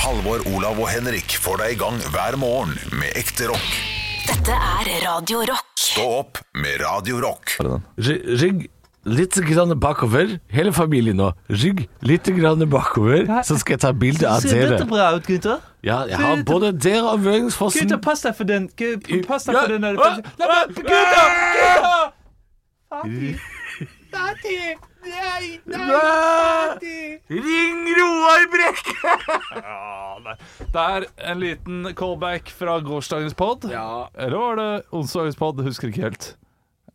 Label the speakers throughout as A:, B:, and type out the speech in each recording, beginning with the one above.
A: Halvor, Olav og Henrik får deg i gang hver morgen med ekte rock.
B: Dette er Radio Rock.
A: Stå opp med Radio Rock.
C: Ry- Rygg litt grann bakover. Hele familien nå. Rygg litt grann bakover, så skal jeg ta bilde av
D: Ser dette
C: dere.
D: bra ut, gutter?
C: Ja, jeg har både dere og Vøringsfossen
D: Gutter, pass deg for den. Gu- Pass deg
C: Ja.
D: for den der.
C: Ah!
D: La meg Gutter! Gutter! Fattig. Fattig. Nei, nei, fattig.
C: Ring Roar Brekk!
E: Ja, nei. Det er en liten callback fra gårsdagens pod.
C: Ja.
E: Eller var det onsdagens pod? Husker ikke helt.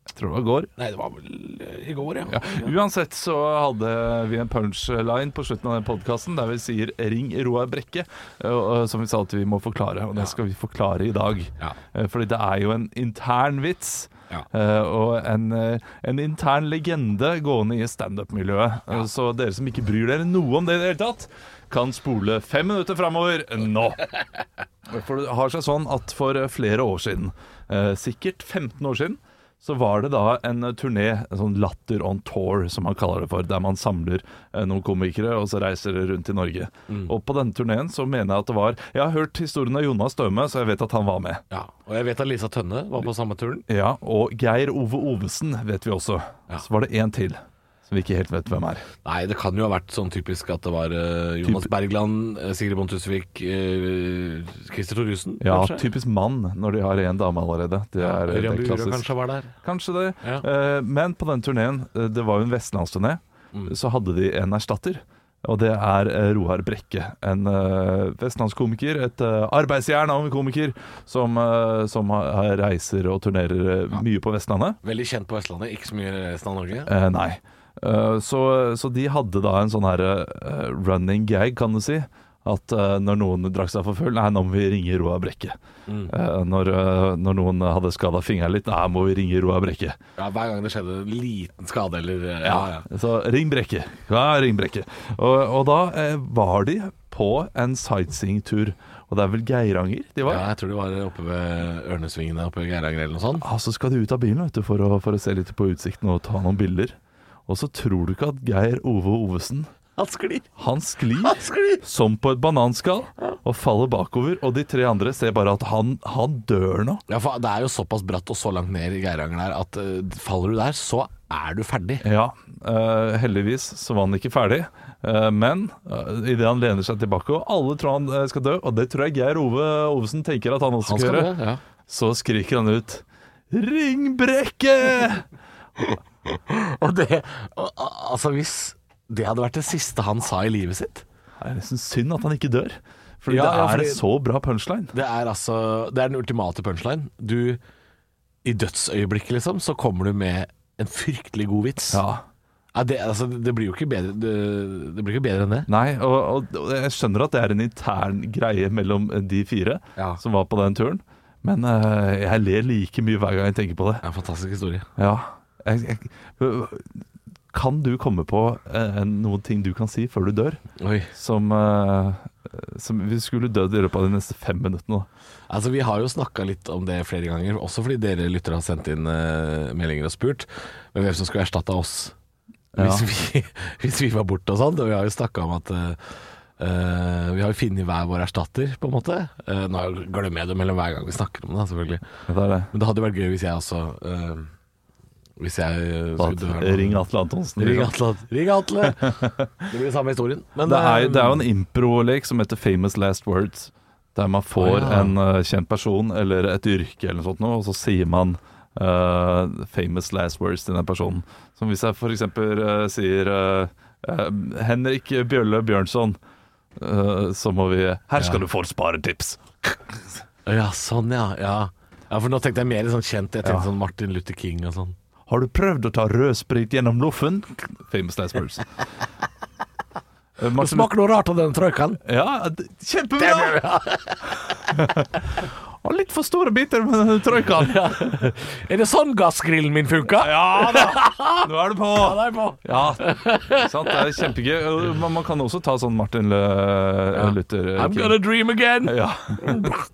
E: Jeg tror det var går.
C: Nei, det var vel eh, i går, ja.
E: Ja. Uansett så hadde vi en punchline på slutten av den podkasten der vi sier 'ring Roar Brekke', eh, og som vi sa at vi må forklare. Og det skal vi forklare i dag.
C: Ja.
E: Eh, Fordi det er jo en intern vits.
C: Ja.
E: eh, og en, eh, en intern legende gående i standup-miljøet. Eh, Så dere som ikke bryr dere noe om det i det hele tatt, kan spole fem minutter framover nå. For det har seg sånn at for flere år siden, eh, sikkert 15 år siden, så var det da en turné, en sånn Latter on Tour, som man kaller det for, der man samler eh, noen komikere, og så reiser de rundt i Norge.
C: Mm.
E: Og på denne turneen så mener jeg at det var Jeg har hørt historien av Jonas Støme, så jeg vet at han var med.
C: Ja, Og jeg vet at Lisa Tønne var på samme turen.
E: Ja, og Geir Ove Ovesen vet vi også. Så var det én til som vi ikke helt vet hvem er.
C: Nei, det kan jo ha vært sånn typisk at det var eh, Jonas
E: Typ-
C: Bergland, eh, Sigrid Bonde Tusvik, eh, Christer Thoresen
E: Ja,
C: kanskje?
E: typisk mann når de har én dame allerede. Det er, eh, det
C: Ørjan
E: er
C: Bure
E: klassisk.
C: kanskje var der.
E: Kanskje det.
C: Ja.
E: Eh, men på den turneen, eh, det var jo en vestlandsturné, så hadde de en erstatter. Og det er eh, Roar Brekke, en eh, vestlandskomiker, et eh, arbeidsjern av en komiker, som, eh, som har- har reiser og turnerer eh, mye på Vestlandet.
C: Veldig kjent på Vestlandet, ikke så mye i resten av Norge.
E: Eh, nei. Eh, så, så de hadde da en sånn her eh, running gag, kan du si. At eh, når noen drakk seg for full Nei, nå må vi ringe Roar Brekke. Eh, når, eh, når noen hadde skada fingeren litt Nei, må vi ringe Roar Brekke.
C: Ja, Hver gang det skjedde en liten skade eller eh, ja, ja.
E: Så ring Brekke. Ja, ring Brekke. Og, og da eh, var de på en sightseeingtur. Og det er vel Geiranger de var?
C: ja, jeg tror det var oppe ved Ørnesvingene oppe ved Geiranger eller noe sånt.
E: Ja, så skal de ut av bilen vet du, for, å, for å se litt på utsikten og ta noen bilder. Og så tror du ikke at Geir Ove Ovesen
C: Han sklir!
E: Han sklir.
C: Han sklir!
E: som på et bananskall og faller bakover. Og de tre andre ser bare at han, han dør nå.
C: Ja, for det er jo såpass bratt og så langt ned i Geiranger der at eh, faller du der, så er du ferdig.
E: Ja, eh, heldigvis så var han ikke ferdig. Eh, men uh, idet han lener seg tilbake, og alle tror han eh, skal dø, og det tror jeg Geir Ove Ovesen tenker at han også
C: Han
E: skal,
C: skal
E: gjøre,
C: dø, ja.
E: så skriker han ut Ringbrekke!
C: Og det og, al- Altså, hvis det hadde vært det siste han sa i livet sitt
E: Det er nesten synd at han ikke dør, Fordi
C: Ja,
E: det
C: ja,
E: er
C: fordi-
E: en så bra punchline.
C: Det er altså Det er den ultimate punchline. Du I dødsøyeblikket, liksom, så kommer du med en fryktelig god vits.
E: Ja.
C: Ja, det, altså, det blir jo ikke bedre Det, det blir ikke bedre enn det.
E: Nei, og, og, og jeg skjønner at det er en intern greie mellom eh, de fire
C: Ja.
E: som var på den turen. Men eh, jeg ler like mye hver gang jeg tenker på det.
C: Det er en fantastisk historie.
E: Ja. Jeg, jeg, kan du komme på eh, noen ting du kan si før du dør,
C: Oi.
E: som, eh, som vi skulle dødd i løpet av de neste fem minuttene? da?
C: Altså, vi har jo snakka litt om det flere ganger, også fordi dere lyttere har sendt inn eh, meldinger og spurt men hvem som skulle erstatta oss hvis, vi, hvis vi var borte og sånn. Og vi har jo snakka om at eh, eh, vi har jo funnet hver vår erstatter, på en måte. Eh, nå glemmer jeg det mellom hver gang vi snakker om det, selvfølgelig.
E: Det er det.
C: Men det hadde vært gøy hvis jeg også eh, Hvis jeg eh, skulle dø
E: At,
C: her nå.
E: ring Atle Antonsen. liksom.
C: Ring Atle. Ring Atle! Det blir samme historien. Men,
E: Det er,
C: eh,
E: det er jo en improlek som heter Famous Last Words, der man får
C: Å, ja.
E: en eh, kjent person eller et yrke eller noe sånt, noe, og så sier man eh, famous last words til den personen. Som hvis jeg f.eks. Uh, sier eh, eh, Henrik Bjølle Bjørnson, eh, så må vi Her skal du få et sparetips!
C: Ja, sånn ja. ja. Ja, for nå tenkte jeg mer sånn kjent. Jeg tenkte sånn Martin Luther King og sånn.
E: Har du prøvd å ta rødsprit gjennom loffen? Famous last words. Eh, Martin-
C: noe rart av den trøyken.
E: Ja, d- kjempebra! Og litt for store biter med den trøykaen.
C: Er det sånn gassgrillen min funka?
E: Ja da! Nå er du på!
C: det er på.
E: Ja, sant, det er kjempegøy. Og Man man kan også ta sånn Martin Lø Luther
C: I'm
E: King.
C: gonna dream again.
E: Ja. I'm go-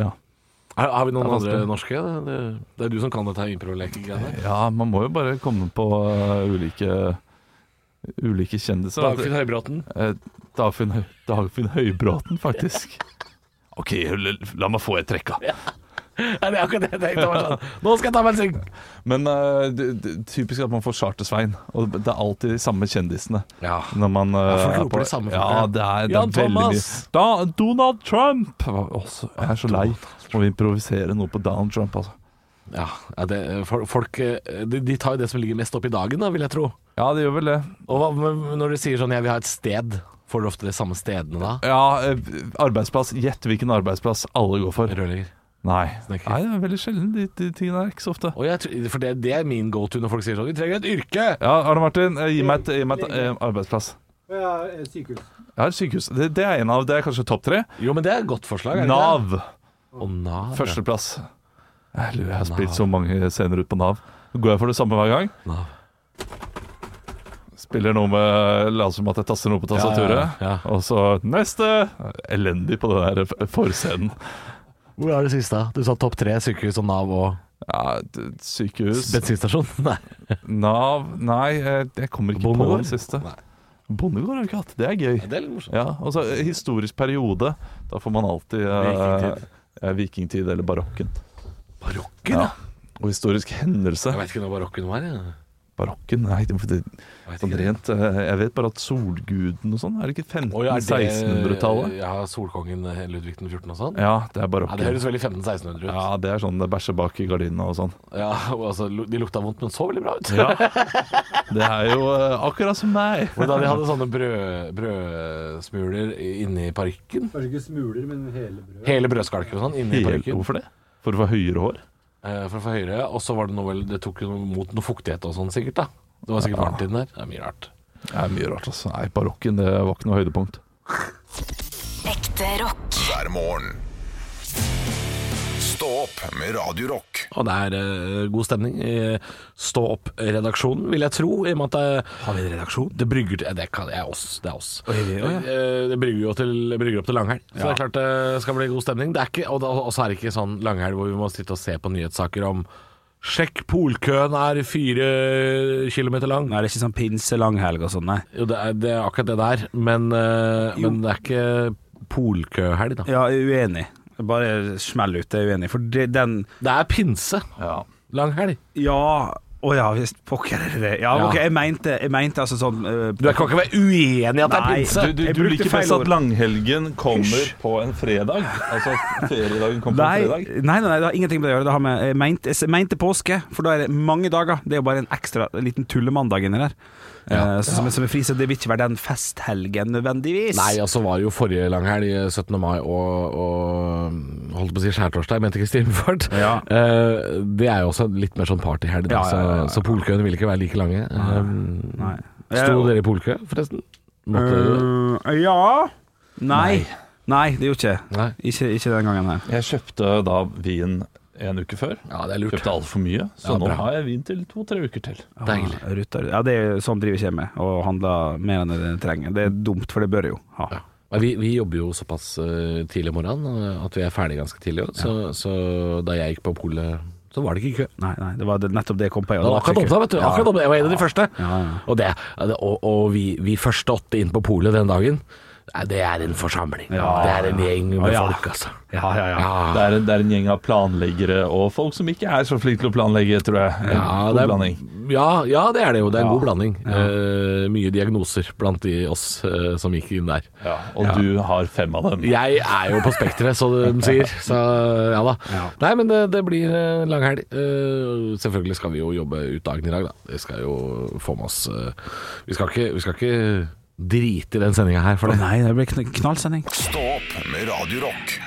E: ja.
C: Har, har vi noen
E: Det er
C: andre norske? Det, det er du som kan dette her impro-lekegreiene.
E: ja, man må jo bare komme på eh, ulike Ulike kjendiser.
C: Dagfinn Høybråten.
E: Eh, Dagfinn, Høy- Dagfinn Høybråten, faktisk. OK, la- la meg få et trekk, da.
C: Ja, det er akkurat det jeg tenkte. Bare sånn. Nå skal jeg ta meg en sving!
E: Men eh, det, det, typisk at man får Charter-Svein. Og det er alltid de samme kjendisene.
C: Ja.
E: Når man eh,
C: folk
E: er
C: roper
E: på-
C: det samme for-
E: Ja, det er, det
C: Jan
E: er veldig mye.
C: Thomas!
E: Da, Donald Trump! Også, jeg er så lei av å improvisere noe på Donald Trump, altså.
C: Ja, ja, det, for- folk eh, de, de tar jo det som ligger mest opp i dagen, da, vil jeg tro.
E: Ja, det gjør vel det.
C: Og hva, med- når du sier sånn 'jeg vil ha et sted', får du ofte de samme stedene da?
E: Ja, eh, arbeidsplass. Gjett hvilken arbeidsplass alle går for.
C: Rørlegger.
E: Nei. Nei,
C: Snekker.
E: det er veldig sjelden. De, de tingene er ikke så ofte.
C: Og jeg, tror- for det, det er min go to når folk sier sånn 'vi trenger et yrke'.
E: Ja, Arne Martin, eh, gi meg et, gi meg et eh, arbeidsplass.
F: Sykehus.
E: Jeg har et sykehus. Det, det er en av, det er kanskje topp tre.
C: Jo, men det er et godt forslag. er det ikke det?
E: Nav.
C: Å, Nav. ja.
E: Førsteplass. Jeg lurer, jeg har spilt så mange scener ut på Nav. Går jeg for det samme hver gang?
C: Nav.
E: Spiller noe med La oss som at jeg taster noe på tastaturet,
C: Ja, ja, ja.
E: og så neste! Elendig på den der f- forscenen.
C: Hvor er det siste? da? Du sa topp tre sykehus og Nav og
E: Ja, d- sykehus
C: bensinstasjon? Nei.
E: Nav Nei, eh, jeg kommer ikke på
C: Bondegård?
E: den siste.
C: Nei.
E: Bondegård har vi ikke hatt. Det er gøy.
C: Det er litt morsomt.
E: Ja, og så eh, historisk periode. Da får man alltid eh,
C: Vikingtid.
E: eh, vikingtid eller barokken.
C: Barokken, ja.
E: Ja. Og historisk hendelse.
C: Jeg vet ikke når barokken var. Jeg.
E: Barokken? Nei, det, det,
C: Jeg vet
E: sånn
C: ikke.
E: rent eh, Jeg vet bare at solguden og sånn Er det ikke
C: Å, ja, er det-
E: 1500-1600-tallet?
C: Ja, Solkongen eh, Ludvig den 14. og sånn?
E: Ja, det
C: Ja, det
E: er barokken.
C: høres veldig 1500-1600 ut.
E: Ja, det er sånn det bæsjer bak i gardinene og sånn.
C: Ja, og altså, lu- De lukta vondt, men så veldig bra ut.
E: Ja. Det er jo eh, akkurat som meg.
C: Hvordan de hadde sånne brød, brødsmuler i- inni parykken.
F: Kanskje ikke smuler, men hele brød.
C: Hele brødskalker og sånn inni
E: Helt-
C: parykken
E: Hvorfor det? For å få høyere hår?
C: eh, for å få høyere. Og så var det noe vel Det tok jo noe mot noe fuktighet og sånn, sikkert. da Det var sikkert varmt i den der. Det er mye rart.
E: Det er mye rart, altså. Nei, barokken det var ikke noe høydepunkt.
B: Ekte rock.
A: hver morgen. Stå opp med Radio Rock.
C: Og det er eh, god stemning i Stå opp-redaksjonen, vil jeg tro. I og med at det, Har vi en redaksjon? Det brygger til Det, kan, det er oss. Det er oss. Eh, Det brygger jo til, brygger opp til langhelg. Så det er klart det skal bli god stemning. Det er ikke, og, da, og så er det ikke sånn langhelg hvor vi må sitte og se på nyhetssaker om Sjekk, polkøen er fire kilometer lang.
G: Nei, det er ikke sånn pinselanghelg og sånn, nei.
C: Jo, det er, det er akkurat det der, men, eh, men det er ikke polkøhelg, da.
G: Ja, jeg er uenig. Bare smell ut, jeg er uenig. For det, den
C: Det er pinse. Langhelg.
G: Ja, å ja, visst pokker er det det. Ja,
C: Ja.
G: ok, jeg mente, jeg mente altså sånn eh,
C: Du kan ikke være uenig i at det er
G: Nei.
C: pinse!
E: Du, du,
G: Jeg
E: du
G: brukte
E: liker
G: feil
E: best at
G: ord.
E: langhelgen kommer på en fredag? Altså at feriedagen kommer på
G: Nei,
E: en
G: nei,
E: fredag?
G: nei, nei, det har ingenting med det å gjøre. Det har med, jeg, mente, jeg mente påske, for da er det mange dager. Det er jo bare en ekstra en liten tullemandag inni der. Eh, så, som, som er fri, så det vil ikke være den festhelgen nødvendigvis.
C: Nei, altså var det jo forrige langhelg, 17. mai og, og holdt på å si skjærtorsdag, mente Kristin Fart.
G: Ja.
C: Eh, det er jo også litt mer sånn partyhelg, da,
G: Ja, ja, ja, ja.
C: så, så polkøene vil ikke være like lange. Um,
G: Nei.
C: Sto dere i polkø, forresten? Måtte dere-
G: Eh, ja Nei. Nei, det gjorde ikke
C: Nei.
G: Ikke, ikke den gangen her.
E: Jeg kjøpte da vin en uke før.
C: Ja, det er lurt.
E: Kjøpte altfor mye, så
C: Ja,
E: nå
C: bra.
E: har jeg vin til to-tre uker til.
C: Deilig.
G: Ja, ruter. Ja, det er jo sånn driver ikke jeg med, og handler mer enn det trenger. Det er dumt, for det bør jeg jo ha.
C: Men vi, vi jobber jo såpass eh, tidlig om morgenen eh, at vi er ferdig ganske tidlig. også, Så, så da jeg gikk på polet, så var det ikke kø.
G: Nei, nei, det var det- nettopp det jeg kom på. jeg, og
C: Det var akkurat
G: ikke-
C: åpna, vet du.
G: Ja.
C: Akkurat åpnet. Jeg var en av de første.
G: Ja, ja.
C: Og, det, og, og vi, vi første åtte inn på polet den dagen, nei, det er en forsamling.
G: Ja.
C: Det er en gjeng med
G: Å, ja.
C: folk, altså.
G: Ja, ja, ja.
E: Det er, det er en gjeng av planleggere og folk som ikke er så flinke til å planlegge, tror jeg. En
C: Ja,
E: god
C: det er,
E: blanding.
C: ja, ja, det er det jo. Det er en
G: Ja.
C: god blanding. Eh, mye diagnoser blant de oss eh, som gikk inn der.
E: Og du har fem av dem.
C: Jeg er jo på spekteret, så de sier. Så ja da. Nei, men det, det blir eh, langhelg. Eh, Selvfølgelig skal vi jo jobbe ut dagen i dag, da. Vi skal jo få med oss eh, Vi skal ikke, vi skal ikke drite i den sendinga her for
G: Å
C: det.
G: Nei, det ble kn- knallsending.
A: Stå opp med Radio Rock.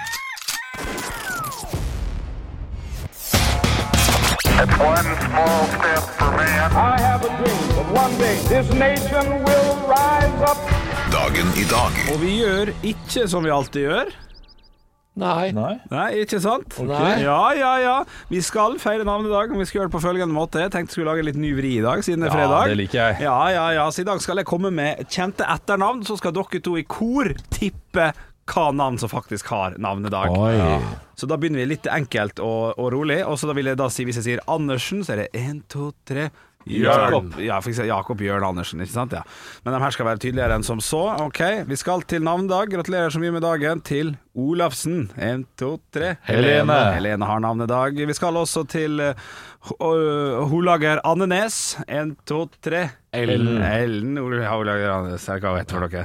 H: I have a dream that one day this nation will rise up.
A: Dagen i dag.
G: Og vi gjør ikke som vi alltid gjør.
C: Nei.
E: Nei?
G: Nei, ikke sant?
C: Nei.
G: Ja, ja, ja. Vi skal feire navnedagen, men vi skal gjøre det på følgende måte. Jeg tenkte jeg skulle lage litt ny vri i dag, siden det er
E: Ja,
G: fredag.
E: det liker jeg.
G: Ja, ja, ja. Så i dag skal jeg komme med kjente etternavn, så skal dere to i kor tippe hva navn som faktisk har navnedag. Ja. Så da begynner vi litt enkelt og, og rolig. Og så da vil jeg da si, hvis jeg sier Andersen, så er det én, to, tre Jakob, ja, for eksempel Jakob Jørn Andersen, ikke sant? Ja. Men de her skal være tydeligere enn som så. Ok, vi skal til navnedag. Gratulerer så mye med dagen til Olafsen. En, to, tre.
E: Helene.
G: Helene har navnedag. Vi skal også til eh, Ho- øh, Holager Andenes. En, to, tre. Ellen. Ellen Ol- ja, Holager Andenes, jeg hva vet for dere.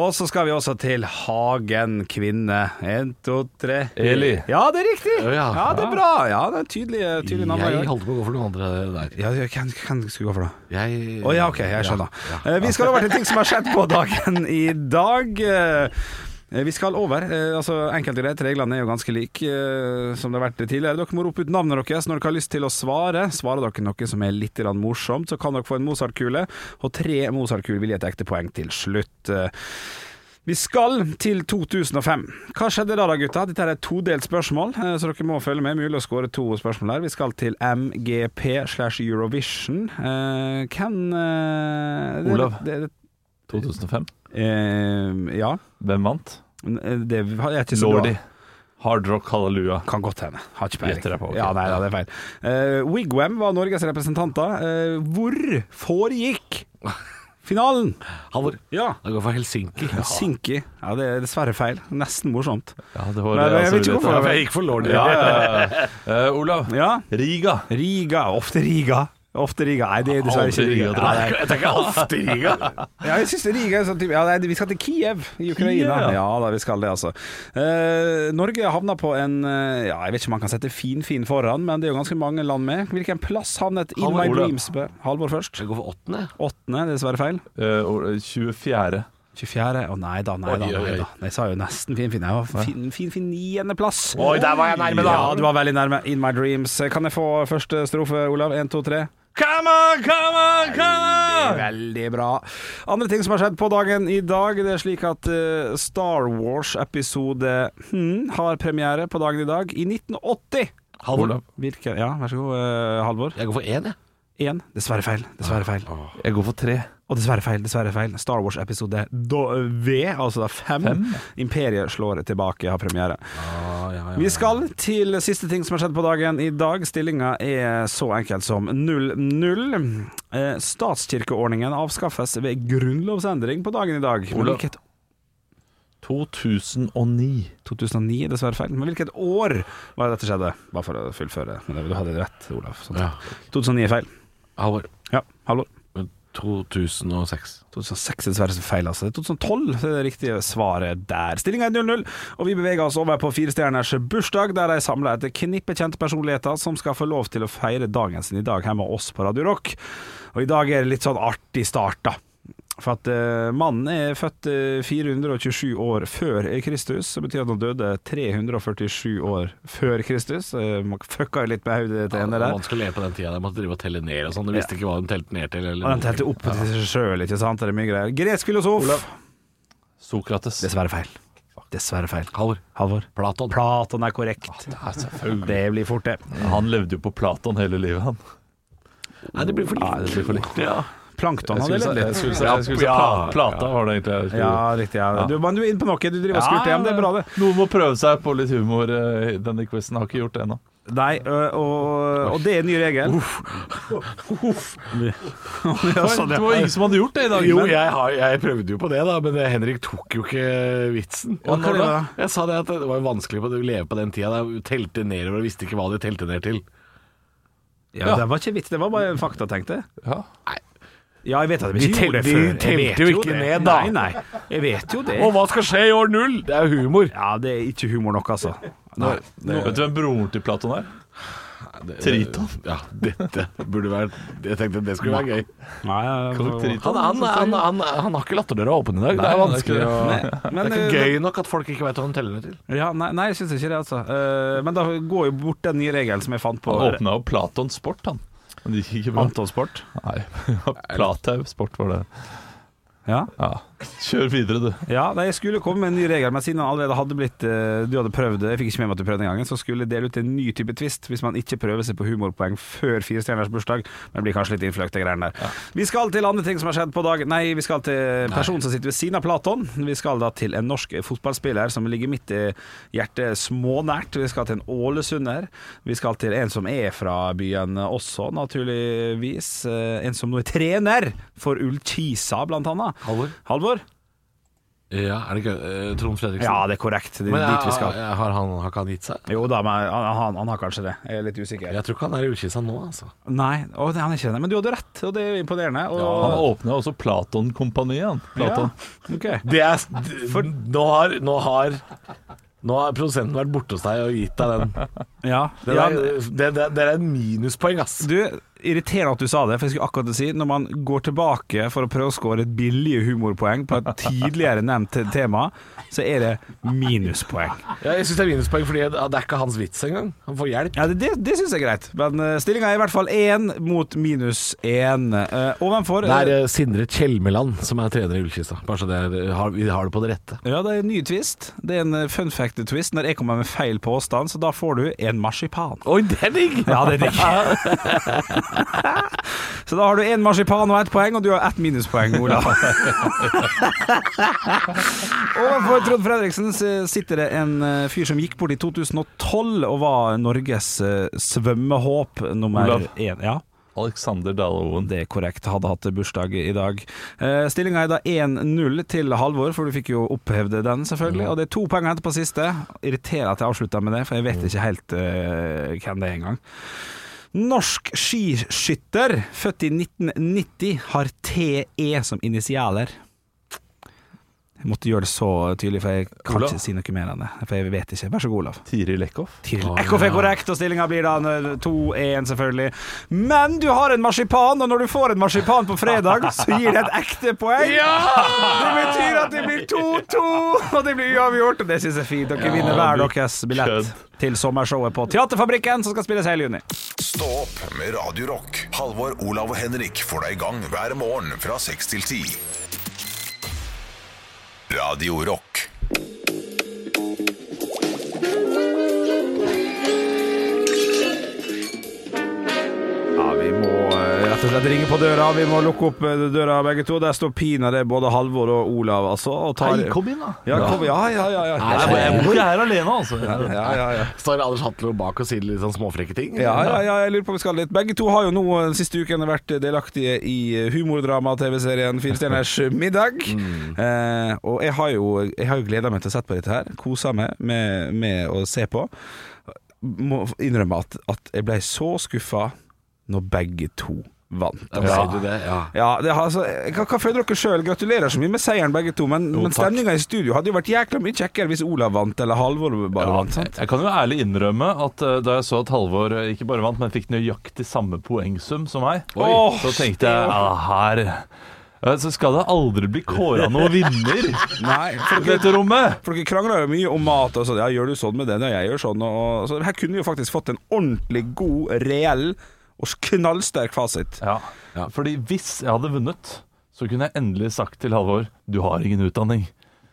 G: Og så skal vi også til Hagen kvinne. En, to, tre.
E: Eli.
G: Ja, det er riktig!
C: Ja, ja.
G: Ja, det er bra. Ja, det er tydelige, tydelige navn.
C: Jeg holdt på å gå for noen andre der.
G: Ja, ja, hvem, hvem skulle gå for det?
C: Jeg
G: Å ja, ok, jeg skjønner. Eh, Vi skal over til ting som har skjedd på dagen i dag. Eh, Vi skal over. eh, Altså, Enkelte greit, reglene er jo ganske like eh, som det har vært tidligere. Dere må rope ut navnet deres når dere har lyst til å svare. Svarer dere noe som er litt grann morsomt, så kan dere få en Mozart-kule. Og tre Mozart-kuler vil gi et ekte poeng til slutt. Eh, vi skal til 2005. Hva skjedde da da, gutta? Dette er et todelt spørsmål, eh, så dere må følge med. Mulig å skåre to spørsmål her. Vi skal til MGP slash Eurovision. Eh, Hvem eh, det-
E: Olav.
G: Det, det,
E: 2005.
G: eh, ja. eh,
E: Hvem vant?
G: Det er ikke så
E: Lordi.
G: bra.
E: Hard Rock Hallelujah.
G: Kan godt hende. Har ikke peiling.
E: Gjetter jeg på, ok.
G: Ja, nei, da, det er feil. Eh, Wigwam var Norges representanter. Eh, hvor foregikk finalen?
C: Halvor.
G: Ja.
C: Jeg går for Helsinki.
G: Sinki. Ja, det er dessverre feil. Nesten morsomt.
E: Ja, det var
G: Nei,
E: det,
G: jeg
E: altså,
G: vet ikke
E: vi
G: hvorfor.
E: etter.
C: Jeg gikk for Lordi.
E: Ja, ja, ja. Eh, Olav.
G: Ja.
E: Riga.
G: Riga, ofte Riga. Ofte Riga. Nei, det er dessverre ikke
E: Aldri Riga,
G: Riga.
E: tror
G: Nei,
E: jeg.
C: Jeg tenker ofte Riga.
G: Ja, jeg synes Riga er sånn type ja, nei, Vi skal til Kiev i Ukraina.
E: Kiev, ja.
G: ja da, vi skal det, altså. Eh, Norge havna på en eh, Ja, jeg vet ikke om man kan sette fin-fin foran, men det er jo ganske mange land med. Hvilken plass havnet In
E: Halvor,
G: My
E: Olav.
G: Dreams på? Halvor først.
C: Jeg går for åttende.
G: Åttende, dessverre feil.
E: Eh, og- 24.
G: 24. Å nei da, nei da. nei da Jeg sa jo nesten fin-fin. Jeg var fin-fin niendeplass. Fin,
E: Oi, der var jeg nærme, da.
G: Ja, du var veldig nærme. In My Dreams. Kan jeg få første strofe, Olav? Én, to, tre.
E: Come on, come on, come on!
G: Veldig bra. Andre ting som har skjedd på dagen i dag, det er slik at eh, Star Wars episode hmm, har premiere på dagen i dag i 1980.
C: Halvor.
G: Virker, ja, vær så god, eh, Halvor.
C: Jeg går for én, jeg.
G: Én. Dessverre feil. Dessverre feil.
E: Jeg går for tre.
G: Og dessverre feil. Dessverre feil. Star Wars episode da- V, altså da fem. Imperiet slår tilbake, har premiere. Vi skal til siste ting som har skjedd på dagen i dag. Stillinga er så enkel som 0-0. Eh, statskirkeordningen avskaffes ved grunnlovsendring på dagen i dag. Men
E: Olav.
G: hvilket
E: 2009.
G: 2009 er dessverre feil. Men hvilket år var det dette skjedde? Bare for å fullføre. Men det- du hadde rett, Olav. Sånn. 2009 er feil.
C: Halvor.
G: Ja, hallo.
C: 2006.
G: 2006 er dessverre så feil, altså. Det er 2012 så er det riktige svaret der. Stillinga er 0-0, og vi beveger oss over på firestjerners bursdag, der de samler et knippe kjente personligheter som skal få lov til å feire dagen sin i dag hjemme hos oss på Radio Rock. Og i dag er det litt sånn artig start, da. For at eh, mannen er født eh, 427 år før Kristus, så betyr at han døde 347 år før Kristus. Eh, man fucka jo litt med hodet til henne der.
C: Man skulle le på den tida. Jeg måtte drive og telle ned og sånn. Du visste ikke hva de telte ned til. Eller
G: Og de telte opp til seg sjøl, ikke sant? Det er mye greier. Gresk filosof.
E: Sokrates.
G: Dessverre feil. Dessverre feil.
C: Halvor.
G: Halvor.
C: Platon.
G: Platon er korrekt. Det blir fort, det.
E: Han levde jo på Platon hele livet, han.
C: Nei, det blir for
E: Nei, det blir for likt. Ja.
G: Plankton
E: Jeg skulle
G: hadde
E: sa,
G: levd
E: jeg
G: litt.
E: skulle sa, jeg skulle sa pla- plata, var det egentlig jeg skulle
G: Ja, riktig. Ja. Du, men du er inne på noe. Du driver og skurter hjem. Det er bra, det.
E: Noen må prøve seg på litt humor. eh, i Denne quizen har ikke gjort det ennå.
G: Nei, ø, og, og det er en ny regel.
E: Det var det var ingen som hadde gjort det i dag.
C: Jo,
E: men-
C: jeg, har, jeg prøvde jo på det, da, men eh, Henrik tok jo ikke vitsen.
E: Og når da?
C: Jeg sa det at det var jo vanskelig på- å leve på den tida. Jeg telte nedover og visste ikke hva de telte ned til.
G: Ja, det var ikke vits, det var bare fakta, tenkte jeg.
E: Ja.
G: Ja, jeg vet at
C: De
G: vi ikke gjorde det
C: telte-
G: før.
C: de
G: Jeg
C: telte
G: vet
C: jo ikke
G: det.
C: ned, da.
G: Nei, nei. Jeg vet jo det.
C: Og hva skal skje i år null? Det er jo humor.
G: Ja, det er ikke humor nok, altså.
C: Nei,
E: Vet du hvem broren til Platon er?
C: det-
E: Triton.
C: Ja, dette burde vært Jeg tenkte det skulle være gøy.
G: Nei, ja,
E: Kong Triton.
C: Han, han, han, han, han har ikke latterdøra åpen i dag. Det er
E: Nei, det er
C: vanskelig å
G: men,
C: Det er ikke gøy nok at folk ikke veit hva de teller ned til.
G: Ja, nei, nei, jeg syns ikke det, altså. Eh, men da går jo bort den nye regelen som jeg fant på.
E: Han åpna jo Platon Sport, han. Men det gikk ikke bra.
G: Anton Sport.
E: Nei, Platau Sport var det.
G: Ja.
E: Ja. Kjør videre, du.
G: Ja, nei, jeg skulle komme med en ny regel, men siden han allerede hadde blitt eh, Du hadde prøvd det, jeg fikk ikke med meg at du prøvde den gangen, så skulle jeg dele ut en ny type twist hvis man ikke prøver seg på humorpoeng før firestjerners bursdag. Men det blir kanskje litt innfløkt, de greiene der. Vi skal til andre ting som har skjedd på dag Nei, vi skal til personen som sitter ved siden av Platon. Vi skal da til en norsk fotballspiller som ligger mitt i hjertet smånært. Vi skal til en ålesunder. Vi skal til en som er fra byen også, naturligvis. Eh, En som nå er trener for Ullkisa, blant annet.
C: Halvor?
G: Halvor?
C: Ja, er det ikke eh, Trond Fredriksen?
G: Ja, det er korrekt. Det er
C: Men
G: dit vi
C: ja,
G: skal.
C: ja, har, han, har ikke han gitt seg?
G: Jo da, men han, han, han har kanskje det. Jeg er litt usikker.
C: Jeg tror ikke han er i Ullkisa nå, altså.
G: Nei, å, det, han er ikke det. Men du hadde rett, og det er jo imponerende. Og,
E: Han åpna også Platon-kompaniet. han. Platon.
G: Ja, ok.
C: Det er, for nå har, nå har Nå har produsenten vært borte hos deg og gitt deg den.
G: ja.
C: Det,
G: ja,
C: der, det, det, det er en minuspoeng, ass.
G: du, irriterende at du sa det, for jeg skulle akkurat si Når man går tilbake for å prøve å score et billig humorpoeng på et tidligere nevnt te- tema, så er det minuspoeng.
C: Ja, jeg syns det er minuspoeng fordi det det er ikke hans vits engang. Han får hjelp.
G: Ja, Det, det, det syns jeg er greit, men uh, stillinga er i hvert fall én mot minus én. Uh, ovenfor
C: Det er eh, Sindre Kjelmeland som er trener i Ullkista. Bare så det er, har, vi har det på det rette.
G: Ja, det er en ny twist. Det er en eh, fun fact-twist når jeg kommer med feil påstand, så da får du en marsipan.
C: Oi, det er digg!
G: Ja, det er digg. så da har du én marsipan og ett poeng, og du har ett minuspoeng, Ola. Overfor Trond Fredriksen så sitter det en eh, fyr som gikk bort i 2012 og var Norges eh, svømmehåp nummer
E: Olav.
G: én. Ja.
E: Alexander Dale Oen.
G: Det er korrekt, hadde hatt bursdag i dag. Eh, Stillinga er da 1-0 til Halvor, for du fikk jo opphevd den, selvfølgelig. Og det er to poeng å hente på siste. Irriterer at jeg avslutta med det, for jeg vet ikke helt eh, hvem det er engang. Norsk skiskytter, født i 1990, har TE som initialer. Jeg måtte gjøre det så tydelig, for jeg kan
E: Olav?
G: ikke si noe mer enn det. For jeg vet ikke. Vær så god, Olav.
E: Tiril Eckhoff.
G: Tiril Eckhoff er korrekt, og stillinga blir da 2-1, selvfølgelig. Men du har en marsipan, og når du får en marsipan på fredag, så gir det et ekte poeng. Det betyr at det blir 2-2, og det blir uavgjort. Og det syns jeg er fint. Dere vinner hver deres billett
E: kødd.
G: til sommershowet på Teaterfabrikken, som skal spilles hele juni.
A: Stå opp med Radio Rock. Halvor, Olav og Henrik får deg i gang hver morgen fra 6 til 10. Radio Rock.
G: Ja, vi må eh, rett og slett ringe på døra. Vi må lukke opp eh, døra, begge to. Der står pinadø både Halvor og Olav, altså. Og tar...
E: Hei, kom inn, da.
G: Ja, kom, ja, ja, ja. ja.
C: Nei,
E: Jeg bor her alene, altså.
G: ja, ja, ja.
C: Står Anders Hatlo bak og sier litt sånn småfrekke ting?
G: Ja, ja, ja, jeg lurer på om vi skal litt Begge to har jo nå den siste uken vært delaktige i humordrama-TV-serien Fire stjerners middag. Eh, og jeg har jo, jeg har jo gleda meg til å sette på dette her. Kosa meg med, med å se på. Må innrømme at, at jeg ble så skuffa når begge to vant.
C: Da sier du det, ja.
G: Ja, det har, altså, hva, hva føler dere sjøl? Gratulerer så mye med seieren, begge to. Men, men
C: takk.
G: stemninga i studio hadde jo vært jækla mye kjekkere hvis Olav vant, eller Halvor bare vant. sant?
E: Jeg kan jo ærlig innrømme at eh, da jeg så at Halvor eh, ikke bare vant, men fikk nøyaktig samme poengsum som meg,
G: Oi.
E: så tenkte jeg ja, her eh, Så skal det aldri bli kåra noen vinner
G: Nei,
E: i dette rommet!
G: For dere krangler jo mye om mat og sånn. Ja, gjør du sånn med den, ja, jeg gjør sånn. Og, så her kunne vi jo faktisk fått en ordentlig god, reell og knallsterk fasit.
E: Ja. Fordi hvis jeg hadde vunnet, så kunne jeg endelig sagt til Halvor du har ingen utdanning.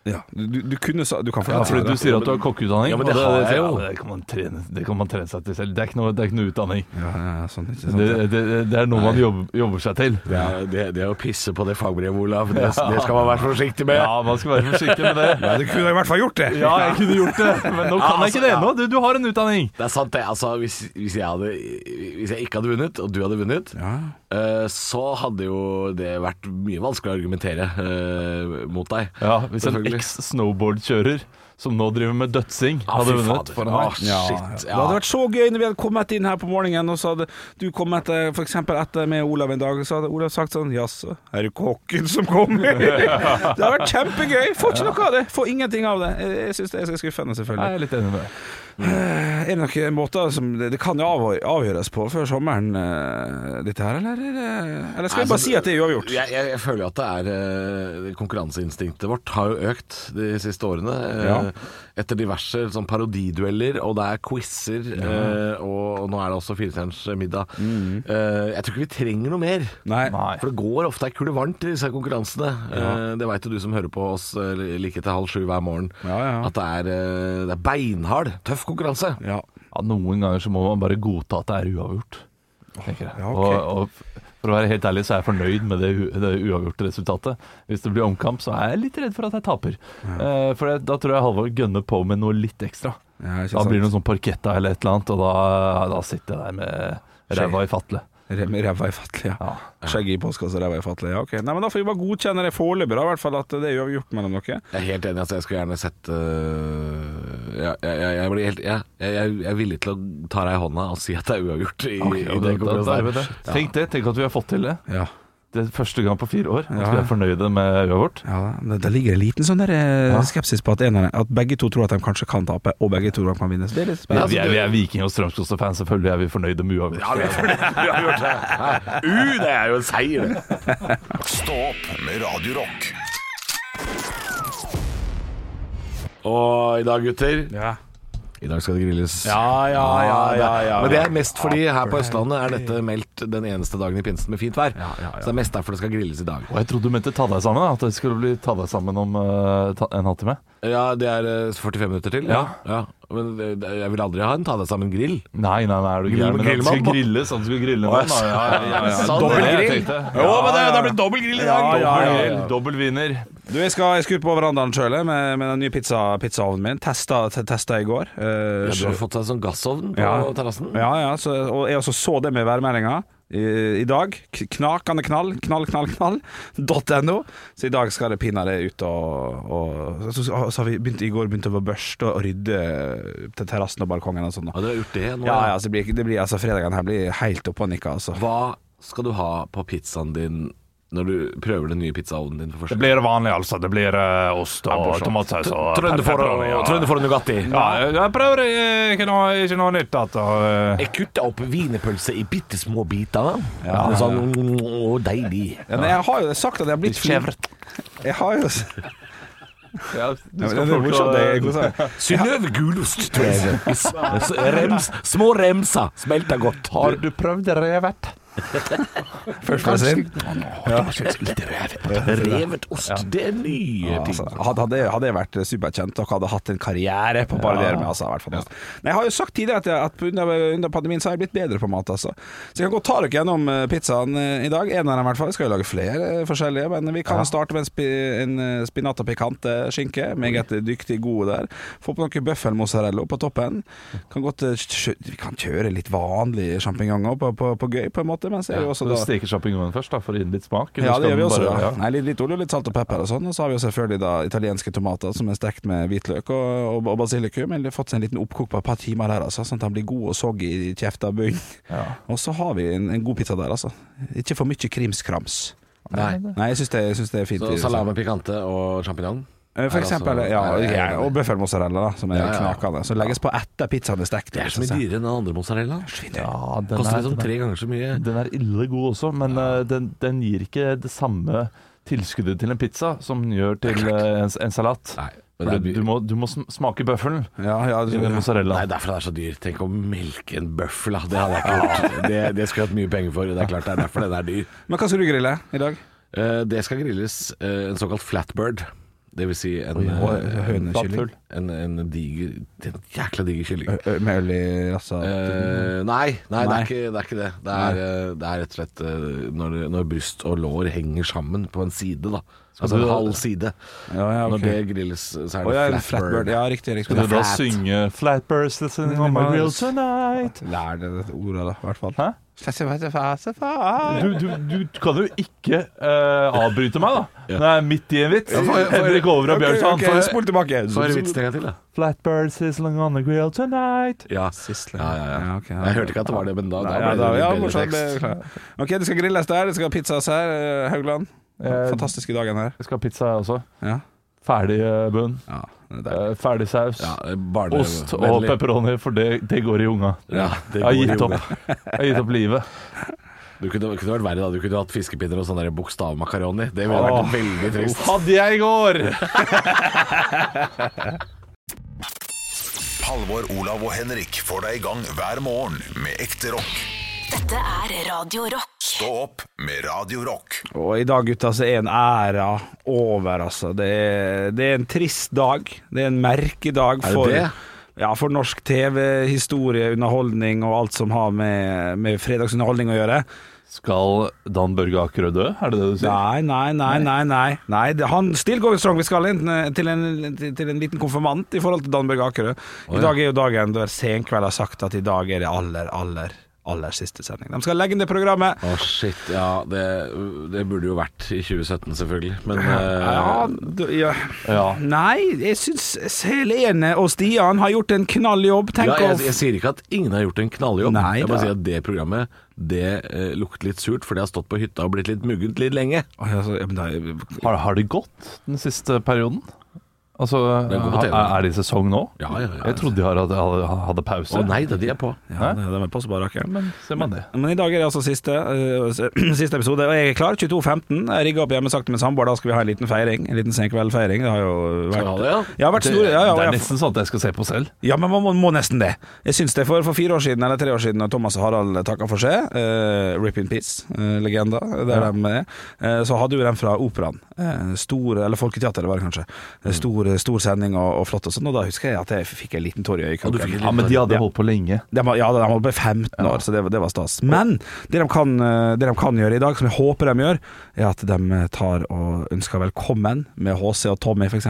G: Ja, du, du kunne sa Du kan få
E: Ja,
G: lov til
E: fordi du
G: det.
E: sier at du har kokkeutdanning.
C: Ja, men
E: og
C: det har jeg jo.
E: Ja, det, kan man trene, det kan man trene seg til selv. Det er ikke noe, det er ikke noe utdanning.
G: Ja, ja, sånn, ikke sant,
E: Det,
G: ja.
E: det, det er noe man jobber, jobber seg til.
C: Det, er- det, det er å pisse på det fagbrevet, Olav, det, det skal man være forsiktig med.
E: Ja, man skal være forsiktig med det.
G: Ja, du kunne i hvert fall gjort det!
E: Ja, jeg kunne gjort det, men nå kan jeg
C: altså,
E: ikke det ennå. Du, du har en utdanning.
C: Det er sant, det. Altså, hvis, hvis, jeg hadde, hvis jeg ikke hadde vunnet, og du hadde vunnet, eh, så hadde jo det vært mye vanskeligere å argumentere eh, mot deg.
E: Ja, Hvis en
C: Selvfølgelig.
E: eks-snowboardkjører som nå driver med dødsing,
C: Ah,
E: hadde
C: fy
E: vunnet
C: fader.
E: foran
C: Ah,
E: meg
C: shit.
G: Det
C: Ja.
G: hadde vært så gøy når vi hadde kommet inn her på morgenen, og så hadde du kommet eh, for eksempel etter med Olav en dag, så hadde Olav sagt sånn Jaså, er det kokken som kommer? det hadde vært kjempegøy! Får ikke noe av det! Får ingenting av det. Jeg, jeg syns det er skuffende,
E: Nei,
G: selvfølgelig.
E: Jeg er litt enig med deg.
G: Eh, Er det noen måter som Det, det kan jo avhø- avgjøres på før sommeren, eh, dette her, eller? er det- Eller skal vi
C: Nei,
G: bare
C: så-
G: si at det er uavgjort?
C: Jeg, jeg, jeg føler at det er eh, Konkurranseinstinktet vårt har jo økt de siste årene. eh,
G: Ja.
C: Etter diverse sånn parodidueller, og det er quizer, eh, og, og nå er det også Firestjerners middag. Eh, jeg tror ikke vi trenger noe mer.
G: Mm. Nei.
E: Nei.
C: For det går ofte ei kule varmt i disse konkurransene. Eh, Det veit jo du som hører på oss eh, like til halv sju hver morgen.
G: Ja, ja.
C: At det er, eh, det er beinhard, tøff konkurranse.
G: Ja.
E: Ja, noen ganger så må man bare godta at det er uavgjort. tenker jeg.
G: Ja, ok.
E: og, og for å være helt ærlig, så er jeg fornøyd med det, u- det uavgjorte resultatet. Hvis det blir omkamp, så er jeg litt redd for at jeg taper. Eh, for jeg, da tror jeg Halvor gønner på med noe litt ekstra.
G: Ja, ikke
E: Da
G: sant.
E: blir det noe sånn parketta eller et eller annet, og da, da sitter jeg der med ræva i fatle.
G: Re- med Ræva i fatle, ja.
E: Ja.
G: Skjegget i postkassa, ræva i fatle. Ja, ok. Nei, men Da får vi bare godkjenne det foreløpig, da, i hvert fall at det er uavgjort mellom dere.
C: Jeg er helt enig. Altså, jeg skulle gjerne sett eh, jeg, jeg, jeg, jeg, blir helt, ja, jeg, jeg, jeg er villig til å ta deg i hånda og si at det er uavgjort i,
E: Ok,
C: i
E: og
C: den
E: da- da- da er vi
C: konkurransen.
E: det. Tenk det, tenk at vi har fått til det.
G: Ja,
E: Det er første gang på fire år at
G: Ja.
E: vi er fornøyde med uavgjort.
G: ja Da da ligger det en liten sånn der, eh, skepsis på at, en av dem, at begge to tror at de kanskje kan tape, og begge to tror at de kan vinne. Så altså, det er litt
E: Men
G: spennende.
E: vi, er, vi er Viking- og Strømsgodset-fans, selvfølgelig er vi fornøyde med uavgjort.
C: Ja, vi er fornøyd med uavgjort. Ja. Uh, det er jo en seier, det.
A: Stå opp med Radio Rock.
C: Og i dag, gutter
G: Ja.
C: I dag skal det grilles.
G: Ja, ja, ja, ja, ja.
C: Men det er mest fordi her på Østlandet er dette meldt den eneste dagen i pinsen med fint vær. Så det er mest derfor det skal grilles i dag.
E: Og jeg trodde du mente ta deg sammen, da, at det skulle bli ta deg sammen om eh, ta, en halvtime.
C: Ja, det er eh, 45 minutter til.
E: Ja.
C: Men det- det- jeg vil aldri ha en ta deg sammen grill.
E: Nei, nei, nei, er du
C: Grill-
E: gæren? Men at det
C: grillmann,
E: skulle
C: da.
E: grilles, at det skulle grille noen. da. Ja, ja, ja, ja.
C: Sånn,
E: Dobbel
C: det
E: grill.
C: tenkte
E: Ja,
C: Jo, men det- det blir
E: dobbel grill i
G: dag.
E: Ja, ja,
G: Dobbel
E: ja, ja. Dobbel vinner.
G: Du, jeg skal, jeg skal ut på verandaen sjøl med, med den nye pizza, pizzaovnen min. Testa, te- testa i går. Eh,
C: Ja, Du har fått deg sånn gassovn på
G: Ja.
C: terrassen.
G: ja, ja, så, og jeg også så det med værmeldinga i, i dag. K- Knakende knall, knall, knall, knall. .no. Så i dag skal det pinadø ut og, og så, så, så har vi begynt, I går begynte vi å børste og rydde til terrassen og balkongen og sånn.
C: Ja, dere
G: da.
C: har gjort det nå.
G: Ja,
C: ja.
G: ja, så det blir, det blir altså fredagen her blir helt oppe og nikka, altså.
C: Hva skal du ha på pizzaen din når du prøver den nye pizzaovnen din for første
E: Det blir vanlig, altså. Det blir eh, ost og tomatsaus og
C: Trønderfor
E: pepperoni, ja.
C: og, Trønderfor og Nugatti.
E: Ja, jeg prøver eh, ikke noe, ikke noe nytt. At, og, eh,
C: Jeg kutta opp wienerpølse i bitte små biter. Ja, Sånn å, deilig.
G: Ja, men jeg har jo sagt at jeg har blitt flink. Jeg har jo
E: ja, du
G: Det er morsomt, det er godt sagt.
C: Synnøve gulost, tror jeg. S- s- Rems, små remser smelter godt. Har
E: du prøvd revet?
G: Først må jeg si
C: revet ost? Det er nye ting.
G: Altså, hadde, hadde, jeg- hadde jeg vært superkjent og hadde hatt en karriere på bare det med altså, i hvert fall. Nei, Jeg har jo sagt tidligere at, jeg, at under, under pandemien så har jeg blitt bedre på mat. Altså. Så jeg kan godt ta dere gjennom eh, pizzaen eh, i dag. En av dem i hvert fall. Jeg skal jo lage flere eh, forskjellige, men vi kan starte med en, spi, en eh, spinata picante skinke. Meget dyktig god der. Få på noe bøffelmozzarella på toppen. Kan godt, eh, kjø, vi kan kjøre litt vanlige sjampinjonger på, på, på gøy, på en måte, men så er det jo også
E: Du
G: da
E: steker sjampinjongen først, da, for å gi den litt smak. eller
G: ja,
E: skal
G: det gjør vi
E: den
G: også.
E: bare-
G: ja. Nei, litt, litt olje, litt salt og pepper og sånn. Og så har vi jo selvfølgelig da italienske tomater som er stekt med hvitløk og, og, og basilikum. Eller fått seg en liten oppkok på et par timer der, altså, sånn at den blir god og soggy i kjefta og bunn. Og så har vi en, en god pizza der, altså. Ikke for mye krimskrams.
C: Nei.
G: Nei, jeg syns det, jeg syns det er fint.
C: Så salami picante og sjampinjong?
G: Eh, For
C: er
G: eksempel,
C: altså-
G: ja,
C: Nei, det er-
G: ja, og bøffelmozzarella, da, som er
C: Ja, ja.
G: knakende. Som legges på etter pizzaen er stekt.
C: Det er så mye dyrere enn den andre mozzarellaen.
E: Ja,
C: Koster
E: den er,
G: sånn
C: liksom
E: den,
C: tre ganger så mye.
E: er, den er ille god også, men eh, den, den gir ikke det samme tilskuddet til en pizza som den gjør til eh, en, en salat.
C: Nei, men
E: For
C: det
E: du,
C: er
E: du,
C: by-
E: må, du må sm- smake bøffelen
G: Ja, ja,
E: i den
C: Nei,
E: mozzarellaen.
C: derfor det er så dyr. Tenk å melke en bøffel, da. Det hadde jeg ikke gjort. Det, det skulle jeg hatt mye penger for. Det er klart det er derfor den er dyr.
G: Men hva skal du grille i dag?
C: Eh, Det skal grilles eh, en såkalt flatbird. Det vil si en, eh,
G: Hønekylling?
E: Stappfull.
C: en, en diger En jækla diger kylling.
G: Ø- ø- Med øl i rassa?
C: Eh, nei, nei, Det,
G: Nei.
C: er ikke, det er ikke det. Det er, eh, det er rett og slett eh, når, når bryst og lår henger sammen på en side, da. Altså en
E: du-
C: halv side.
G: Ja, ja,
C: Når
G: ok.
C: det grilles, så er
G: Å
C: det
G: ja, en
C: flatbird.
G: flatbird. Ja, riktig. riktig.
E: Skal du da
C: Flat.
E: synge 'Flatbursts in my grill tonight'?
G: Lær deg dette ordet, da, i hvert fall.
E: Hæ? Du, du, du kan jo ikke eh, avbryte meg, da. Når jeg er midt i en vits.
C: for- for-
E: Henrik Over og Bjørnson.
G: Ok, ok, Spol tilbake.
C: Så er det vitsen en gang til, da.
E: Flatbird sizzling on the grill tonight.
C: Ja. Ja, ja, ja.
G: Ja, ok, ja.
C: Jeg hørte ikke at det var det, men da, da
G: Ja,
C: ble
G: da,
C: det
G: ja,
C: litt bedre
G: morsomt.
C: tekst.
G: beklager. Ok, det skal grilles der, det skal pizzas her. eh, Haugland.
E: Eh,
G: Fantastiske dagen her.
E: Jeg skal ha pizza også.
G: Ja.
E: Ferdig eh, bønn.
G: Ja, det er,
E: Eh, Ferdig saus.
C: Ja, barne-
E: Ost og
C: vennlig.
E: pepperoni, for det, det går i unga.
C: Ja, det
E: Jeg har
C: går i
E: gitt
C: jorda.
E: opp. Jeg har gitt opp livet.
C: Du kunne, det kunne vært verre da. Du kunne hatt fiskepinner og sånn der bokstavmakaroni. Det ville vært
E: Åh.
C: veldig trist.
E: Hadde jeg i går!
A: Halvor, Olav og Henrik får deg i gang hver morgen med ekte rock.
B: Dette er Radio Rock.
A: Stå opp med Radio Rock.
G: Og i dag, gutta, så er en æra over, altså. Det er, det er en trist dag. Det er en merkedag
C: det
G: for
C: det?
G: Ja, for norsk TV, historie, underholdning og alt som har med, med fredagsunderholdning å gjøre.
E: Skal Dan Børge Akerø dø? Er det det du sier?
G: Nei, nei, nei, nei. nei, nei det, han Still going strong. Vi skal inn eh, til en, til en liten konfirmant i forhold til Dan Børge Akerø. I dag er jo dagen der Senkveld har sagt at i dag er det aller, aller, aller siste sending. De skal legge inn det programmet.
C: Å, shit. Ja, det, det burde jo vært i 2017, selvfølgelig. Men
G: Ja,
C: eh,
G: d- ja.
E: Ja.
G: Nei, jeg syns Helene og Stian har gjort en knalljobb. Tenk
C: ja, jeg,
G: å-
C: jeg sier ikke at ingen har gjort en knalljobb.
G: Nei,
C: jeg bare
G: da.
C: sier at det programmet det eh, lukter litt surt, for det har stått på hytta og blitt litt muggent litt lenge.
G: Oi, altså, ja, men da-
E: Har, har det gått den siste perioden? Altså,
C: Den går på
E: er,
C: TV.
E: er det i sesong nå?
C: Ja, ja, ja.
E: Jeg trodde de har- hadde, hadde pause.
C: Å nei da, de er på.
G: ja, det- det er passe bra, Rakel.
E: Men ser man det.
G: Men i dag er det altså siste, eh, s- siste episode, og jeg er klar. 22.15. Jeg rigger opp hjemme sakte med samboer. Da skal vi ha en liten feiring. En liten senkveldfeiring. Det har jo
C: Skal vi ha
G: vært
C: det, ja?
G: Jeg har vært stor, ja, ja,
E: det
G: og
E: er
G: jeg-
E: nesten sånn at jeg skal se på selv.
G: Ja, men man må, må nesten det. Jeg syns det. For, for fire år siden, eller tre år siden, da Thomas og Harald takka for seg, eh, Rip in Peace, eh, legenda, der de er, eh, så hadde jo den fra operaen. Eh, stor, eller Folketeatret var det kanskje. Eh, Stor, stor sending og, og flott og sånn, og da husker jeg at jeg fikk en liten tåre i
C: Og du fikk
G: øyekroken.
C: en
E: Ja, Men de hadde
G: Ja.
E: holdt på lenge.
G: De har, ja, de har holdt på i 15 år, så det, var- det var stas. Men det de, kan, eh, det de kan gjøre i dag, som jeg håper de gjør, er at de eh, tar og ønsker velkommen med HC og Tommy, f.eks.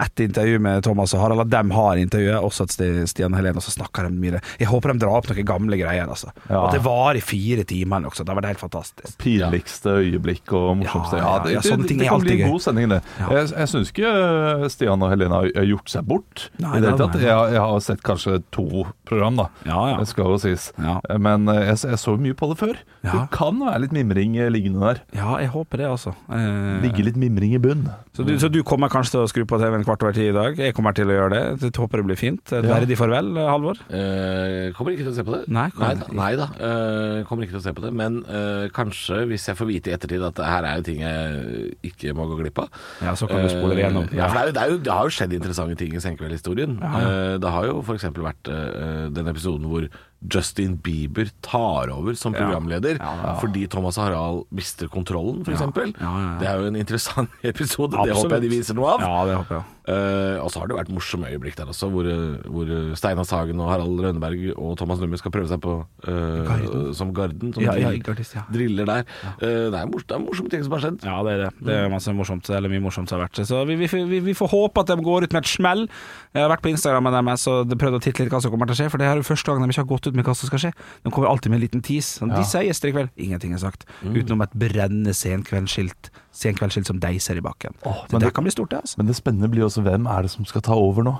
G: Etter intervju med Thomas og Harald, at de har intervjuet, også at Sti- Stian og Helene, og så snakker de mye. Jeg håper de drar opp noen gamle greier, altså.
E: Ja.
G: Og at det var i fire timer eller noe sånt. Det hadde vært helt fantastisk.
E: Pinligste øyeblikk og morsomste.
G: Ja, ja, ja, sånne ting
E: det
G: er
E: kan bli
G: alltid
E: en
G: gøy.
E: god sending, det.
G: Ja.
E: Jeg, jeg syns ikke øh, Stian og Helene har- har gjort seg bort.
G: Nei,
E: i det
G: nei,
E: hele tatt.
G: nei.
E: Jeg, har- jeg har sett kanskje to program, da.
G: Ja, ja.
E: Det skal jo sies.
G: Ja.
E: Men øh, jeg, jeg så mye på det før.
G: Ja.
E: Det kan være litt mimring øh, liggende der.
G: Ja, jeg håper det, altså. Eh,
E: Ligge litt mimring i bunn.
G: Så du, så du kommer kanskje til å skru på TV-en kvart over ti i dag? Jeg kommer til å gjøre det. Jeg håper det blir fint. Et
E: Ja.
G: verdig farvel, Halvor.
C: Eh, kommer ikke til å se på det.
G: Nei, kommer
C: da.
G: ikke.
C: Nei da. Eh, kommer ikke til å se på det. Men eh, kanskje, hvis jeg får vite i ettertid at det her er jo ting jeg eh, ikke må gå glipp av
G: Ja, så kan du spole det gjennom.
C: Eh, Ja, for det, er jo, det, er jo, det har jo skjedd interessante ting i Senkveldhistorien. Eh, det har jo f.eks. vært eh, den episoden hvor Justin Bieber tar over som programleder fordi Thomas og Harald mister kontrollen, f.eks. eksempel Det er jo en interessant episode. Det håper jeg de viser noe av.
G: Ja, det håper jeg.
C: Eh, og så har det vært morsomme øyeblikk der også, hvor, eh, hvor eh, Steinar Sagen og Harald Rønneberg og Thomas Nummer skal prøve seg på eh, som garden. Som
G: Ja, ja,
C: drill-
G: gardist, ja.
C: driller der. Eh, det, er mors det er morsomme ting som har skjedd.
G: Ja, det er det. Det er masse morsomt, eller mye morsomt som har vært. Så vi, vi, vi, vi får håpe at de går ut med et smell. Jeg har vært på Instagram med dem og prøvd å titte litt hva som kommer til å skje, for det her er jo første gang de ikke har gått ut med hva som skal skje. De kommer alltid med en liten tease. Sånn, De sier gjester i kveld. Ingenting er sagt. Utenom et brennende senkveldsskilt Senkveldsskilt som deiser i bakken.
E: Åh,
G: Så
E: men
G: det,
E: det-
G: kan bli stort, det, altså.
E: Men det spennende blir også hvem er det som skal ta over nå?